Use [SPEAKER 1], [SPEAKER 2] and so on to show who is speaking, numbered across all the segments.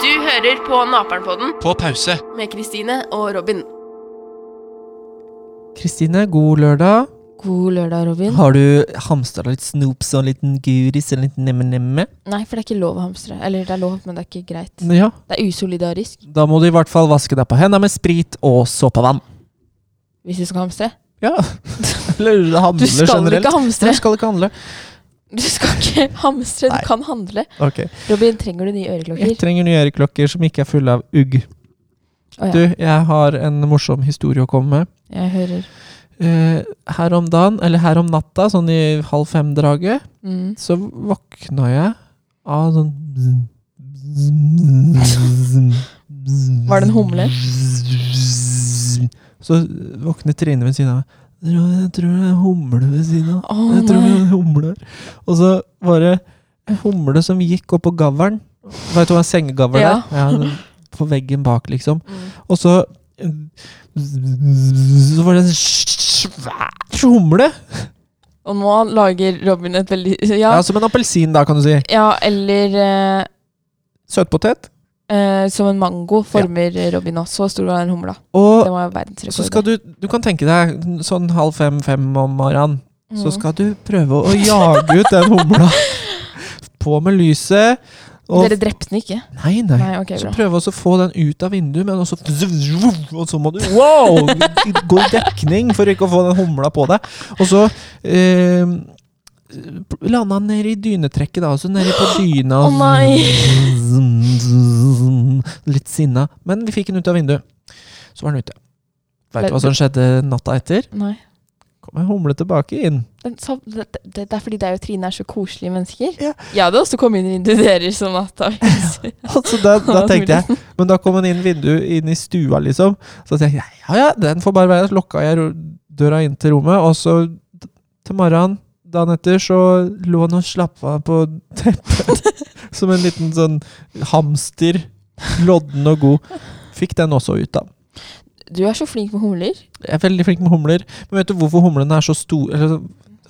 [SPEAKER 1] Du hører på Naperen-podden
[SPEAKER 2] På pause.
[SPEAKER 1] med Kristine og Robin.
[SPEAKER 3] Kristine, god lørdag.
[SPEAKER 4] God lørdag, Robin.
[SPEAKER 3] Har du hamstra litt snoops og en liten guris og en liten nemme-nemme?
[SPEAKER 4] Nei, for det er ikke lov å hamstre. Eller det er lov, men det er ikke greit.
[SPEAKER 3] Ja.
[SPEAKER 4] Det er usolidarisk
[SPEAKER 3] Da må du i hvert fall vaske deg på hendene med sprit og såpevann.
[SPEAKER 4] hvis du skal hamstre.
[SPEAKER 3] Ja. Eller
[SPEAKER 4] Du
[SPEAKER 3] handle
[SPEAKER 4] skal
[SPEAKER 3] generelt.
[SPEAKER 4] ikke hamstre!
[SPEAKER 3] Nei, skal ikke handle.
[SPEAKER 4] Du skal ikke hamstre,
[SPEAKER 3] Nei.
[SPEAKER 4] du kan handle.
[SPEAKER 3] Ok.
[SPEAKER 4] Robin, trenger du nye
[SPEAKER 3] Jeg
[SPEAKER 4] øreklokker?
[SPEAKER 3] trenger nye øreklokker som ikke er fulle av ugg.
[SPEAKER 4] Å ja.
[SPEAKER 3] Du, jeg har en morsom historie å komme med.
[SPEAKER 4] Jeg hører.
[SPEAKER 3] Eh, her om dagen, eller her om natta, sånn i halv fem-draget,
[SPEAKER 4] Mm.
[SPEAKER 3] så våkna jeg av sånn bzzz, bzzz, bzzz, bzzz.
[SPEAKER 4] Var det en humle?
[SPEAKER 3] Så våkner Trine ved siden av meg. Jeg tror det er en humle ved siden av.
[SPEAKER 4] Å
[SPEAKER 3] Jeg tror det
[SPEAKER 4] nei.
[SPEAKER 3] er en humle. Og så var det en humle som gikk opp på gavlen. Vet du hva en sengegavl
[SPEAKER 4] Ja.
[SPEAKER 3] er? Ja, den- på veggen bak, liksom.
[SPEAKER 4] Mm.
[SPEAKER 3] Og så Så var det en svær humle!
[SPEAKER 4] Og nå lager Robin et veldig Ja,
[SPEAKER 3] Ja, som en appelsin, da, kan du si.
[SPEAKER 4] ja eller eh,
[SPEAKER 3] Søtpotet.
[SPEAKER 4] eh, som en mango former Robin nå. Så stor var den humla.
[SPEAKER 3] Og
[SPEAKER 4] Det var jo
[SPEAKER 3] Så skal
[SPEAKER 4] verdensrekord.
[SPEAKER 3] du, du kan tenke deg sånn halv fem-fem om morgenen, så
[SPEAKER 4] Mm.
[SPEAKER 3] skal du prøve å jage ut den humla. På med lyset. Og,
[SPEAKER 4] Dere drepte den ikke?
[SPEAKER 3] nei, nei.
[SPEAKER 4] Nei, ok,
[SPEAKER 3] så
[SPEAKER 4] bra.
[SPEAKER 3] prøve også å få den ut av vinduet, men også Og så må du wow, gå i dekning for ikke å få den humla på deg. Og så eh, landa den nede i dynetrekket, da. Og så nede på dyna.
[SPEAKER 4] Å, nei.
[SPEAKER 3] Litt sinna. Men vi fikk den ut av vinduet. Så var den ute. Veit du hva som skjedde natta etter?
[SPEAKER 4] Nei.
[SPEAKER 3] Kom ei humle tilbake inn.
[SPEAKER 4] Den, sa- det, det, det er fordi deg og Trine er så koselige mennesker.
[SPEAKER 3] Ja.
[SPEAKER 4] Jeg hadde også kommet inn i vinduet deres som nattavis.
[SPEAKER 3] Altså, da, da tenkte jeg Men da kom han inn vinduet inn i stua, liksom. Så tenkte jeg ja, ja, den får bare være. Så lukka jeg ro- døra inn til rommet, og så d- til morgenen dagen etter så lå han og slappa av på teppet. Som en liten sånn hamster. Lodden og god. Fikk den også ut, da.
[SPEAKER 4] Du er så flink med humler.
[SPEAKER 3] Jeg er veldig flink med humler. Men vet du hvorfor humlene er så store? Eller,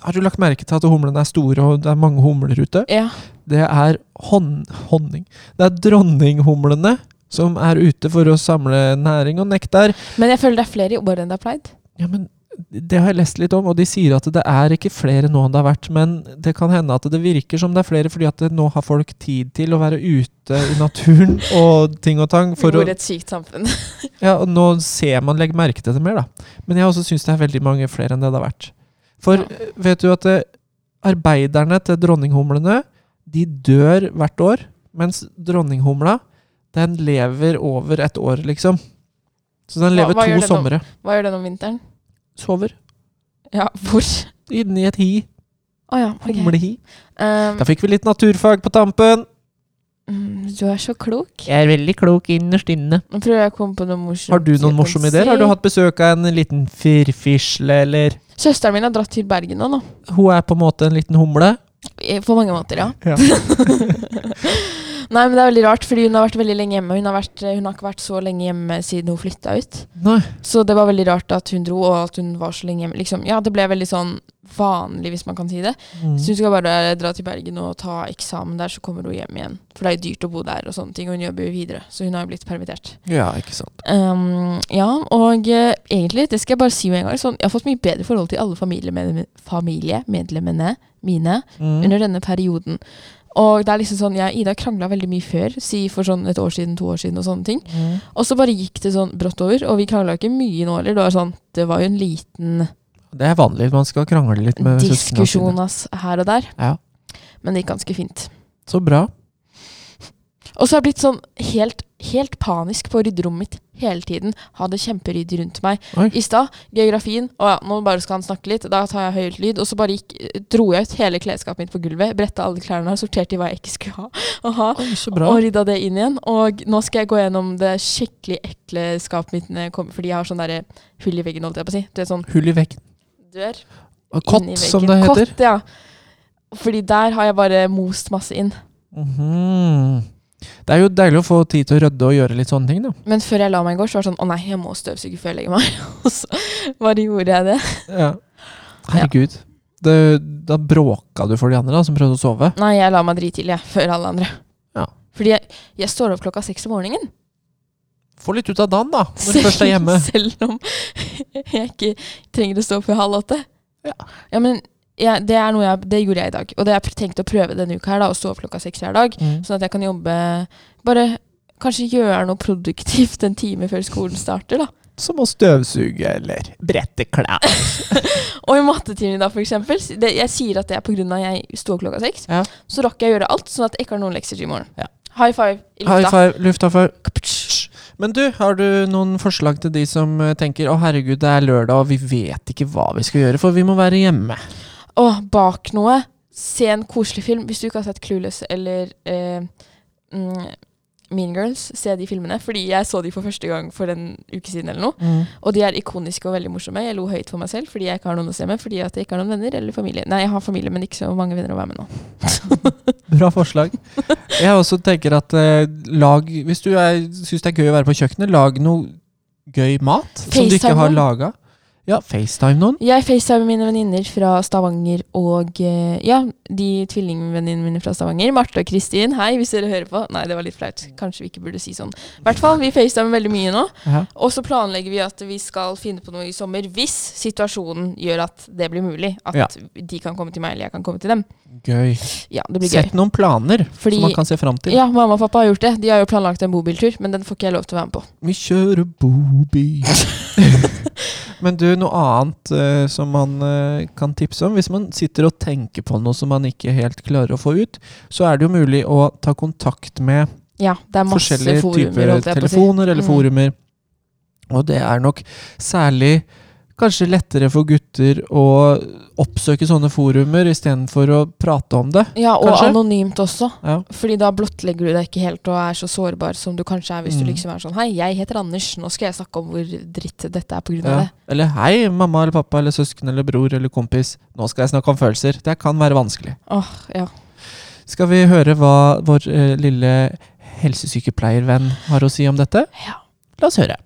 [SPEAKER 3] har du lagt merke til at humlene er store, og det er mange humler ute?
[SPEAKER 4] Ja.
[SPEAKER 3] Det er hon, honning. Det er dronninghumlene som er ute for å samle næring og nektar.
[SPEAKER 4] Men jeg føler det er flere i år enn det er pleid.
[SPEAKER 3] Ja, men det har jeg lest litt om, og de sier at det er ikke flere nå enn det har vært. Men det kan hende at det virker som det er flere, fordi at det, nå har folk tid til å være ute i naturen og ting og tang.
[SPEAKER 4] Vi
[SPEAKER 3] For å,
[SPEAKER 4] bor i et sykt samfunn.
[SPEAKER 3] ja, og nå ser man legger merke til det mer, da. Men jeg også syns det er veldig mange flere enn det det har vært. For
[SPEAKER 4] Ja.
[SPEAKER 3] eh, vet du at eh, arbeiderne til dronninghumlene, de dør hvert år, mens dronninghumla, den lever over et år, liksom. Så den
[SPEAKER 4] Hva-
[SPEAKER 3] lever
[SPEAKER 4] hva
[SPEAKER 3] to
[SPEAKER 4] gjør den om-
[SPEAKER 3] somre.
[SPEAKER 4] Hva gjør den om vinteren?
[SPEAKER 3] Sover
[SPEAKER 4] Ja, hvor?
[SPEAKER 3] inni et hi.
[SPEAKER 4] Å ja, ok.
[SPEAKER 3] Humlehi.
[SPEAKER 4] Um,
[SPEAKER 3] Da fikk vi litt naturfag på tampen.
[SPEAKER 4] mm, du er så klok.
[SPEAKER 3] Jeg er veldig klok innerst inne.
[SPEAKER 4] Nå prøver jeg å komme på noe morsomt.
[SPEAKER 3] Har du
[SPEAKER 4] jeg
[SPEAKER 3] noen
[SPEAKER 4] kan
[SPEAKER 3] morsomme ideer? Har du
[SPEAKER 4] si.
[SPEAKER 3] hatt besøk av en liten firfisle, eller
[SPEAKER 4] Søsteren min har dratt til Bergen nå, nå.
[SPEAKER 3] Hun er på en måte en liten humle.
[SPEAKER 4] I- På mange måter, ja.
[SPEAKER 3] Ja.
[SPEAKER 4] Nei, men det er veldig rart, fordi hun har vært veldig lenge hjemme. Hun har, vært, eh, hun har ikke vært så lenge hjemme siden hun flytta ut.
[SPEAKER 3] Nei.
[SPEAKER 4] Så det var veldig rart at hun dro, og at hun var så lenge hjemme. Liksom, ja, det ble veldig sånn vanlig, hvis man kan si det.
[SPEAKER 3] Mm.
[SPEAKER 4] Så hun skal bare dra til Bergen og ta eksamen der, så kommer hun hjem igjen. For det er jo dyrt å bo der, og sånne ting, og hun jobber jo videre. Så hun har jo blitt permittert.
[SPEAKER 3] Ja, ikke sant.
[SPEAKER 4] Ehm, ja, og eh, egentlig, det skal jeg bare si med en gang, sånn, jeg har fått mye bedre forhold til alle familiemedlemmene familiemedlemmene mine
[SPEAKER 3] Mm.
[SPEAKER 4] under denne perioden. Og det er liksom sånn, jeg og Ida krangla veldig mye før, si for sånn et år siden, to år siden og sånne ting. Og så bare gikk det sånn brått over, og vi krangla ikke mye nå heller. Det var sånn, det var jo en liten
[SPEAKER 3] Det er vanlig. Man skal krangle litt med søsknene sine.
[SPEAKER 4] diskusjon ass, her og der,
[SPEAKER 3] Ja.
[SPEAKER 4] men det gikk ganske fint.
[SPEAKER 3] Så bra.
[SPEAKER 4] Og så har jeg blitt sånn helt, helt panisk på å rydde rommet mitt hele tiden. Ha det kjemperyddig rundt meg.
[SPEAKER 3] Oi.
[SPEAKER 4] I stad, geografien. Å ja, nå bare skal han snakke litt. Da tar jeg høyt lyd. Og så bare gikk, dro jeg ut hele klesskapet mitt på gulvet, bretta alle klærne, sorterte i hva jeg ikke skulle ha. Og, ha,
[SPEAKER 3] Oi, så bra.
[SPEAKER 4] og rydda det inn igjen. Og nå skal jeg gå gjennom det skikkelig ekle skapet mitt, når jeg kommer- fordi jeg har sånn derre hull i veggen, holdt jeg på å si. Det er sånn
[SPEAKER 3] Hull i veggen.
[SPEAKER 4] dør
[SPEAKER 3] Og
[SPEAKER 4] inn
[SPEAKER 3] Kott,
[SPEAKER 4] i
[SPEAKER 3] som det
[SPEAKER 4] veggen.
[SPEAKER 3] heter.
[SPEAKER 4] Kott, ja. Fordi der har jeg bare most masse inn.
[SPEAKER 3] Mhm. Det er jo deilig å få tid til å rydde og gjøre litt sånne ting, da.
[SPEAKER 4] Men før jeg la meg i går, så var det sånn Å nei, jeg må støvsuge før jeg legger meg. Og så bare gjorde jeg det.
[SPEAKER 3] Ja. Herregud. Det, da bråka du for de andre da, som prøvde å sove.
[SPEAKER 4] Nei, jeg la meg drittidlig, jeg. Før alle andre.
[SPEAKER 3] Ja.
[SPEAKER 4] Fordi jeg, jeg står opp klokka seks om morgenen.
[SPEAKER 3] Få litt ut av dagen, da, når du først er hjemme.
[SPEAKER 4] Selv om jeg ikke trenger å stå opp før halv åtte.
[SPEAKER 3] Ja.
[SPEAKER 4] Ja, men jeg, det, er noe jeg, det gjorde jeg i dag. Og det har jeg tenkt å prøve denne uka her, da, å stå opp klokka seks hver dag.
[SPEAKER 3] Mm.
[SPEAKER 4] Sånn at jeg kan jobbe Bare kanskje gjøre noe produktivt en time før skolen starter, da.
[SPEAKER 3] Som å støvsuge eller brette klær.
[SPEAKER 4] Og i mattetimen i dag, for eksempel. s- Det, jeg sier at det er pga. jeg sto opp klokka seks.
[SPEAKER 3] Ja.
[SPEAKER 4] Så rakk jeg å gjøre alt, sånn at jeg ikke har noen lekser til i morgen.
[SPEAKER 3] Ja.
[SPEAKER 4] High five i
[SPEAKER 3] High
[SPEAKER 4] lufta.
[SPEAKER 3] five, lufta for. Men du, har du noen forslag til de som eh, tenker å herregud, det er lørdag og vi vet ikke hva vi skal gjøre, for vi må være hjemme.
[SPEAKER 4] Åh, bak noe. Se en koselig film. Hvis du ikke har sett Clueless eller eh, mm, Mean Girls, se de filmene. Fordi jeg så de for første gang for en uke siden eller noe. Og de er ikoniske og veldig morsomme. Jeg lo høyt for meg selv fordi jeg ikke har noen å se med. Fordi at jeg ikke har noen venner eller familie. Nei, jeg har familie, men ikke så mange venner å være med nå.
[SPEAKER 3] Bra forslag. Jeg også tenker at eh, lag Hvis du syns det er gøy å være på kjøkkenet, lag noe gøy mat som du ikke
[SPEAKER 4] FaceTime
[SPEAKER 3] har
[SPEAKER 4] noen.
[SPEAKER 3] laga. Ja, FaceTime noen.
[SPEAKER 4] Jeg facetimer mine venninner fra Stavanger og eh, Ja, de tvillingvenninnene mine fra Stavanger. Marte og Kristin, hei hvis dere hører på. Nei, det var litt flaut. Kanskje vi ikke burde si sånn. I hvert fall, vi facetimer veldig mye nå.
[SPEAKER 3] Ja.
[SPEAKER 4] Og så planlegger vi at vi skal finne på noe i sommer hvis situasjonen gjør at det blir mulig. At
[SPEAKER 3] Ja.
[SPEAKER 4] de kan komme til meg, eller jeg kan komme til dem.
[SPEAKER 3] Gøy.
[SPEAKER 4] Ja, det blir
[SPEAKER 3] Sett
[SPEAKER 4] gøy.
[SPEAKER 3] noen planer
[SPEAKER 4] Fordi-
[SPEAKER 3] som man kan se fram til.
[SPEAKER 4] Ja, mamma og pappa har gjort det. De har jo planlagt en bobiltur, men den får ikke jeg lov til å være med på.
[SPEAKER 3] Vi kjører bobil. Men du, noe annet eh, som man eh, kan tipse om Hvis man sitter og tenker på noe som man ikke helt klarer å få ut, så er det jo mulig å ta kontakt med
[SPEAKER 4] Ja, det er masse
[SPEAKER 3] forskjellige
[SPEAKER 4] forumer,
[SPEAKER 3] typer
[SPEAKER 4] holdt jeg på å si.
[SPEAKER 3] telefoner eller
[SPEAKER 4] Mm.
[SPEAKER 3] forumer. Og det er nok særlig kanskje lettere for gutter å oppsøke sånne forumer istedenfor å prate om det.
[SPEAKER 4] Ja, og
[SPEAKER 3] Kanskje?
[SPEAKER 4] anonymt også.
[SPEAKER 3] Ja.
[SPEAKER 4] Fordi da blottlegger du deg ikke helt og er så sårbar som du kanskje er hvis du
[SPEAKER 3] Mm.
[SPEAKER 4] liksom er sånn Hei, jeg heter Anders, nå skal jeg snakke om hvor dritt dette er på grunn av
[SPEAKER 3] Ja.
[SPEAKER 4] det.
[SPEAKER 3] Eller 'hei, mamma eller pappa eller søsken eller bror eller kompis', nå skal jeg snakke om følelser. Det kan være vanskelig.
[SPEAKER 4] Åh, ja.
[SPEAKER 3] Skal vi høre hva vår eh, lille helsesykepleiervenn har å si om dette?
[SPEAKER 4] Ja.
[SPEAKER 3] La oss høre.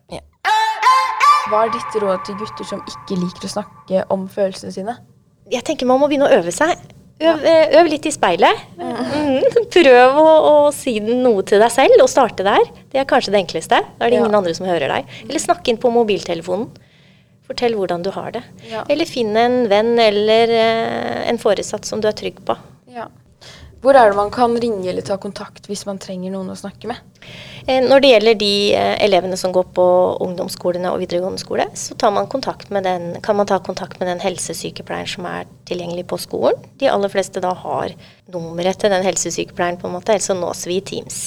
[SPEAKER 2] Hva er ditt råd til gutter som ikke liker å snakke om følelsene sine?
[SPEAKER 5] Jeg tenker man må begynne å øve seg. Øv, eh, øv litt i speilet. Mhm. Prøv å, å si noe til deg selv, og starte der. Det er kanskje det enkleste. Da er det ingen
[SPEAKER 2] Ja.
[SPEAKER 5] andre som hører deg. Eller snakk inn på mobiltelefonen. Fortell hvordan du har det.
[SPEAKER 2] Ja.
[SPEAKER 5] Eller finn en venn eller eh, en foresatt som du er trygg på.
[SPEAKER 2] Hvor er det man kan ringe eller ta kontakt hvis man trenger noen å snakke med?
[SPEAKER 5] Eh, Når det gjelder de eh, elevene som går på ungdomsskolene og videregående skole, så tar man kontakt med den, kan man ta kontakt med den helsesykepleieren som er tilgjengelig på skolen. De aller fleste da har nummeret til den helsesykepleieren, på en måte, ellers så nås vi i Teams.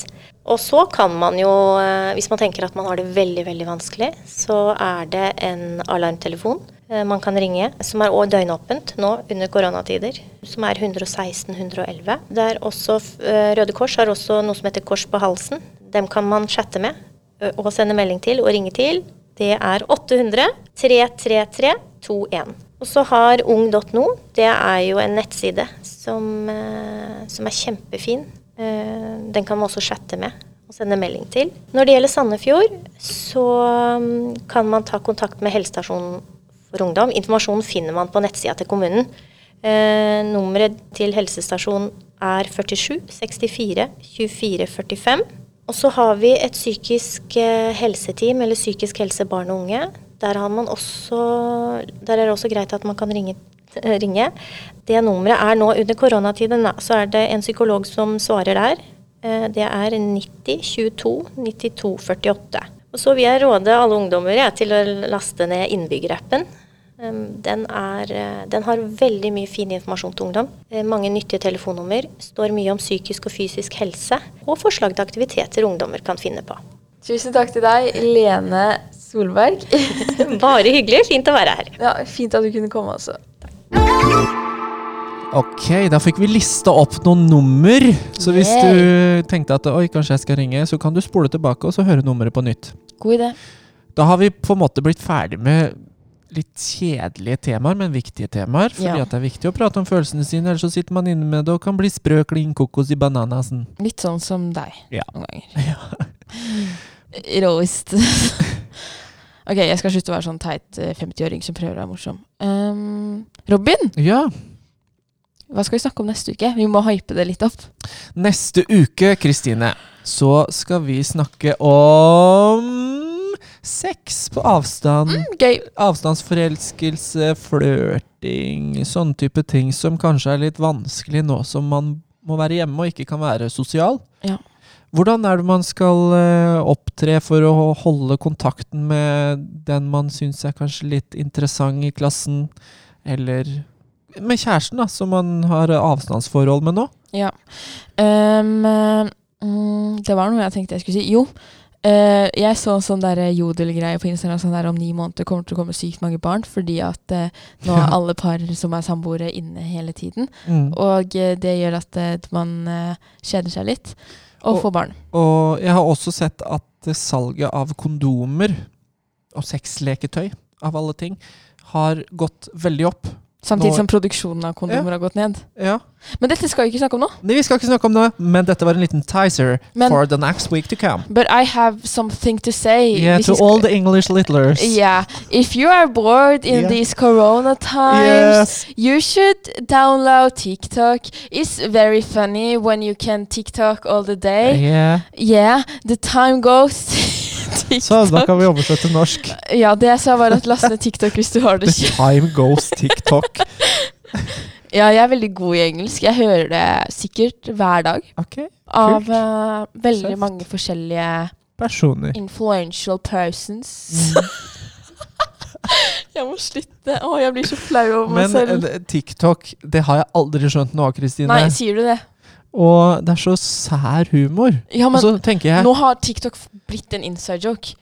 [SPEAKER 5] Og så kan man jo, eh, hvis man tenker at man har det veldig, veldig vanskelig, så er det en alarmtelefon eh, man kan ringe, som er også døgnåpent nå under koronatider, som er 116 111. Det er også, f- eh, Røde Kors har også noe som heter Kors på halsen. Dem kan man chatte med ø, og sende melding til og ringe til. Det er 800 333 21. Og så har ung.no. Det er jo en nettside som, eh, som er kjempefin. Eh, Den kan man også chatte med og sende melding til. Når det gjelder Sandefjord, så mm, kan man ta kontakt med helsestasjonen for ungdom. Informasjonen finner man på nettsida til kommunen. Eh, nummeret til helsestasjonen er 47 64 24 45. Og så har vi et psykisk eh, helseteam, eller psykisk helse barn og unge. Der, har man også, der er det også greit at man kan ringe. eh, ringe. Det nummeret er nå under koronatiden, da, så er det en psykolog som svarer der. Eh, Det er 90 22 92 48. Og så vil jeg råde alle ungdommer jeg, til å laste ned innbyggerappen. Um, Den, er, eh, den har veldig mye fin informasjon til ungdom. Eh, Mange nyttige telefonnummer. Står mye om psykisk og fysisk helse. Og forslag til aktiviteter ungdommer kan finne på.
[SPEAKER 2] Tusen takk til deg, Lene Solberg.
[SPEAKER 5] Bare hyggelig. Fint å være her.
[SPEAKER 2] ja, fint at du kunne komme, altså.
[SPEAKER 3] Ok, da fikk vi lista opp noen nummer. Så hvis du tenkte at oi, kanskje jeg skal ringe, så kan du spole tilbake og så høre nummeret på nytt.
[SPEAKER 4] God idé.
[SPEAKER 3] Da har vi på en måte blitt ferdig med litt kjedelige temaer, men viktige temaer. Fordi
[SPEAKER 4] Ja.
[SPEAKER 3] at det er viktig å prate om følelsene sine, ellers så sitter man inne med det og kan bli sprø klin kokos i bananasen.
[SPEAKER 4] Litt sånn som deg
[SPEAKER 3] Ja.
[SPEAKER 4] noen ganger. Råest. ok, jeg skal slutte å være sånn teit eh, 50-åring som prøver å være morsom. Ehm, Robin,
[SPEAKER 3] Ja.
[SPEAKER 4] hva skal vi snakke om neste uke? Vi må hype det litt opp.
[SPEAKER 3] Neste uke, Kristine, så skal vi snakke om sex på avstand.
[SPEAKER 4] Gøy.
[SPEAKER 3] Avstandsforelskelse, flørting, sånne type ting som kanskje er litt vanskelig nå som man må være hjemme og ikke kan være sosial.
[SPEAKER 4] Ja.
[SPEAKER 3] Hvordan er det man skal eh, opptre for å holde kontakten med den man syns er kanskje litt interessant i klassen, eller med kjæresten, da, som man har eh, avstandsforhold med nå?
[SPEAKER 4] Ja. Ehm, eh, mm, det var noe jeg tenkte jeg skulle si. Jo, eh, jeg så en sånn der jodelgreie på Instagram sånn der om ni måneder kommer til å komme sykt mange barn, fordi at eh, nå er alle par som er samboere, inne hele tiden.
[SPEAKER 3] Mm.
[SPEAKER 4] Og eh, det gjør at eh, man eh, kjeder seg litt og
[SPEAKER 3] Og-
[SPEAKER 4] får barn.
[SPEAKER 3] Og jeg har også sett at eh, salget av kondomer og sexleketøy, av alle ting, har gått veldig opp.
[SPEAKER 4] Samtidig
[SPEAKER 3] Nå-
[SPEAKER 4] som produksjonen av kondomer har gått ned.
[SPEAKER 3] Ja.
[SPEAKER 4] Men dette skal vi ikke snakke om nå.
[SPEAKER 3] Nei, vi skal ikke snakke om det, men dette var en liten teaser
[SPEAKER 4] Men-
[SPEAKER 3] for the next week to come.
[SPEAKER 4] But I have something to say.
[SPEAKER 3] Yeah,
[SPEAKER 4] Hvis
[SPEAKER 3] to
[SPEAKER 4] vi sk-
[SPEAKER 3] all the English littlers.
[SPEAKER 4] Yeah. If you are bored in
[SPEAKER 3] Yeah.
[SPEAKER 4] these corona times,
[SPEAKER 3] Yes.
[SPEAKER 4] You should download TikTok. It's very funny when you can TikTok all the day.
[SPEAKER 3] Yeah.
[SPEAKER 4] Yeah, the time goes TikTok.
[SPEAKER 3] Så da kan vi oversette til norsk.
[SPEAKER 4] Ja, det jeg sa var at last ned TikTok hvis du har det
[SPEAKER 3] The
[SPEAKER 4] kjipt.
[SPEAKER 3] time goes TikTok.
[SPEAKER 4] Ja, jeg er veldig god i engelsk. Jeg hører det sikkert hver dag.
[SPEAKER 3] Ok,
[SPEAKER 4] Av
[SPEAKER 3] Kult.
[SPEAKER 4] eh, veldig
[SPEAKER 3] Søtt.
[SPEAKER 4] mange forskjellige
[SPEAKER 3] personer.
[SPEAKER 4] influential persons. jeg må slutte. Å, jeg blir så flau over
[SPEAKER 3] Men
[SPEAKER 4] meg selv.
[SPEAKER 3] eh, TikTok, det har jeg aldri skjønt noe av, Kristine.
[SPEAKER 4] Nei, sier du det?
[SPEAKER 3] Og det er så sær humor.
[SPEAKER 4] Ja,
[SPEAKER 3] Og
[SPEAKER 4] men
[SPEAKER 3] så tenker jeg
[SPEAKER 4] Nå har TikTok f- blitt en inside joke.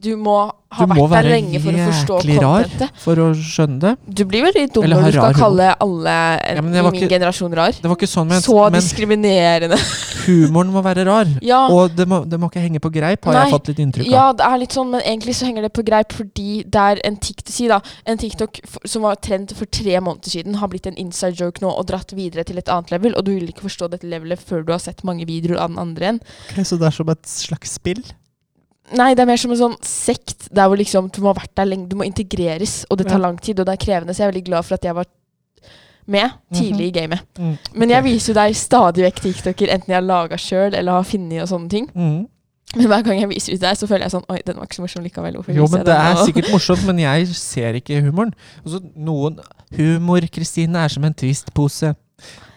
[SPEAKER 4] Du må ha
[SPEAKER 3] Du må
[SPEAKER 4] vært der
[SPEAKER 3] være
[SPEAKER 4] lenge for å forstå
[SPEAKER 3] jæklig rar.
[SPEAKER 4] contentet.
[SPEAKER 3] for å skjønne det.
[SPEAKER 4] Du blir veldig dum
[SPEAKER 3] Eller har
[SPEAKER 4] når du skal
[SPEAKER 3] rar humor.
[SPEAKER 4] kalle alle en,
[SPEAKER 3] Ja, men
[SPEAKER 4] i
[SPEAKER 3] jeg var
[SPEAKER 4] min
[SPEAKER 3] ikke-
[SPEAKER 4] generasjon rar.
[SPEAKER 3] Det var ikke sånn ment,
[SPEAKER 4] Så
[SPEAKER 3] men
[SPEAKER 4] diskriminerende.
[SPEAKER 3] humoren må være rar.
[SPEAKER 4] ja,
[SPEAKER 3] Og det må, det må ikke henge på greip, har
[SPEAKER 4] Nei.
[SPEAKER 3] jeg fått litt inntrykk
[SPEAKER 4] ja,
[SPEAKER 3] av.
[SPEAKER 4] det er litt sånn, men egentlig så henger det på greip fordi det er en TikTok, si da, en TikTok f- som var trend for tre måneder siden, har blitt en inside joke nå og dratt videre til et annet level, og du vil ikke forstå dette levelet før du har sett mange videoer av den andre igjen.
[SPEAKER 3] så det er som et slags spill?
[SPEAKER 4] Nei, det er mer som en sånn sekt der hvor liksom du må ha vært der lenge, du må integreres, og det tar
[SPEAKER 3] Ja.
[SPEAKER 4] lang tid, og det er krevende, så jeg er veldig glad for at jeg var med tidlig i gamet.
[SPEAKER 3] Mm,
[SPEAKER 4] Men jeg viser jo deg stadig vekk TikToker, enten jeg har laga sjøl eller har funnet og sånne ting.
[SPEAKER 3] Mm.
[SPEAKER 4] Men hver gang jeg viser ut deg, så føler jeg sånn Oi, den var ikke så morsom likevel. Hvorfor
[SPEAKER 3] Jo,
[SPEAKER 4] viser
[SPEAKER 3] men det
[SPEAKER 4] jeg den
[SPEAKER 3] er
[SPEAKER 4] nå?»
[SPEAKER 3] sikkert morsomt, men jeg ser ikke humoren. Altså, noen Humor, Kristine, er som en Twist-pose.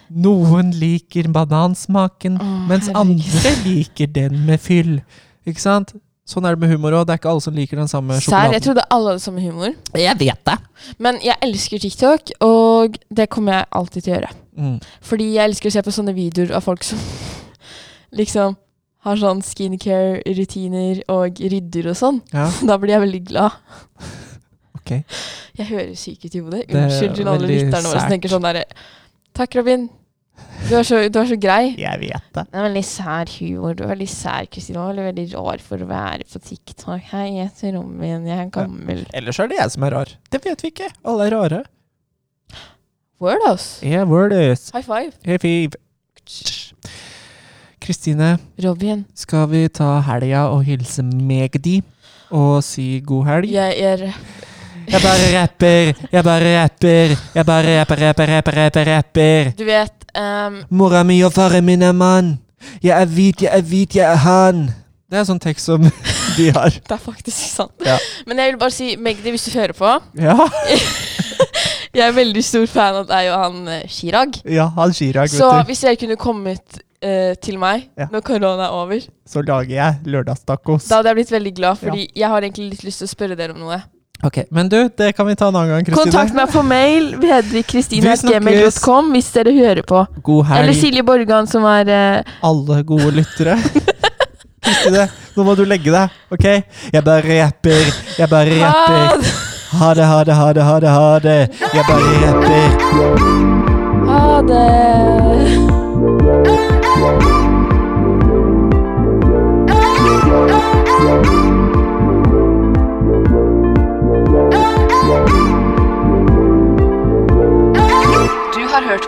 [SPEAKER 3] Noen liker banansmaken,
[SPEAKER 4] Å,
[SPEAKER 3] mens
[SPEAKER 4] herregud.
[SPEAKER 3] andre liker den med fyll. Ikke sant? Sånn er det med humor òg. Det er ikke alle som liker den samme
[SPEAKER 4] Sær,
[SPEAKER 3] sjokoladen.
[SPEAKER 4] jeg trodde alle hadde samme humor.
[SPEAKER 3] Jeg vet det.
[SPEAKER 4] Men jeg elsker TikTok, og det kommer jeg alltid til å gjøre.
[SPEAKER 3] Mm.
[SPEAKER 4] Fordi jeg elsker å se på sånne videoer av folk som liksom har sånn skincare-rutiner og rydder og sånn.
[SPEAKER 3] Ja,
[SPEAKER 4] Da blir jeg veldig glad.
[SPEAKER 3] ok.
[SPEAKER 4] Jeg hører syk ut i hodet.
[SPEAKER 3] er
[SPEAKER 4] Unnskyld til alle
[SPEAKER 3] veldig
[SPEAKER 4] lytterne våre som
[SPEAKER 3] sært.
[SPEAKER 4] tenker sånn derre Takk, Robin. Du er så, du er så grei.
[SPEAKER 3] Jeg vet det.
[SPEAKER 4] Det er veldig sær humor. Du er veldig sær, Kristina. Du er veldig rar for å være på TikTok. Hei, jeg heter Robin. Jeg er gammel.
[SPEAKER 3] Ellers er det jeg som er rar. Det vet vi ikke. Alle er rare.
[SPEAKER 4] Word, ass.
[SPEAKER 3] Yeah, word is.
[SPEAKER 4] High five.
[SPEAKER 3] Hey, five. Kristine,
[SPEAKER 4] Robin,
[SPEAKER 3] skal vi ta helga og hilse Magdi og si god helg?
[SPEAKER 4] jeg er
[SPEAKER 3] Jeg bare rapper, jeg bare rapper, jeg bare rapper, rapper, rapper, rapper, rapper.
[SPEAKER 4] Du vet ehm,
[SPEAKER 3] Mora mi og faren min er mann. Jeg er hvit, jeg er hvit, jeg er han. Det er sånn tekst som de har.
[SPEAKER 4] Det er faktisk sant.
[SPEAKER 3] Ja.
[SPEAKER 4] Men jeg vil bare si, Magdi, hvis du hører på
[SPEAKER 3] Ja,
[SPEAKER 4] Jeg er veldig stor fan av deg og han eh, Chirag.
[SPEAKER 3] ja han Chirag,
[SPEAKER 4] Så
[SPEAKER 3] vet du.
[SPEAKER 4] hvis dere kunne kommet eh, til meg
[SPEAKER 3] Ja.
[SPEAKER 4] når korona er over,
[SPEAKER 3] Så lager jeg lørdagstacos.
[SPEAKER 4] da hadde jeg blitt veldig glad, fordi jeg har egentlig litt lyst til å spørre dere om noe.
[SPEAKER 3] Ok, men du, det kan vi ta en annen gang, Kristine.
[SPEAKER 4] Kontakt meg på mail, vedrikkristine.gmail.com, hvis dere hører på.
[SPEAKER 3] God
[SPEAKER 4] Eller
[SPEAKER 3] helg,
[SPEAKER 4] Silje Borgan, som er eh,
[SPEAKER 3] alle gode lyttere. Kristine, nå må du legge deg, ok? Jeg bare rapper, jeg bare
[SPEAKER 4] Ha
[SPEAKER 3] rapper. Ha det, ha det, ha det, ha det, ha det. Jeg bare rapper.
[SPEAKER 4] ha det!
[SPEAKER 5] Thank you.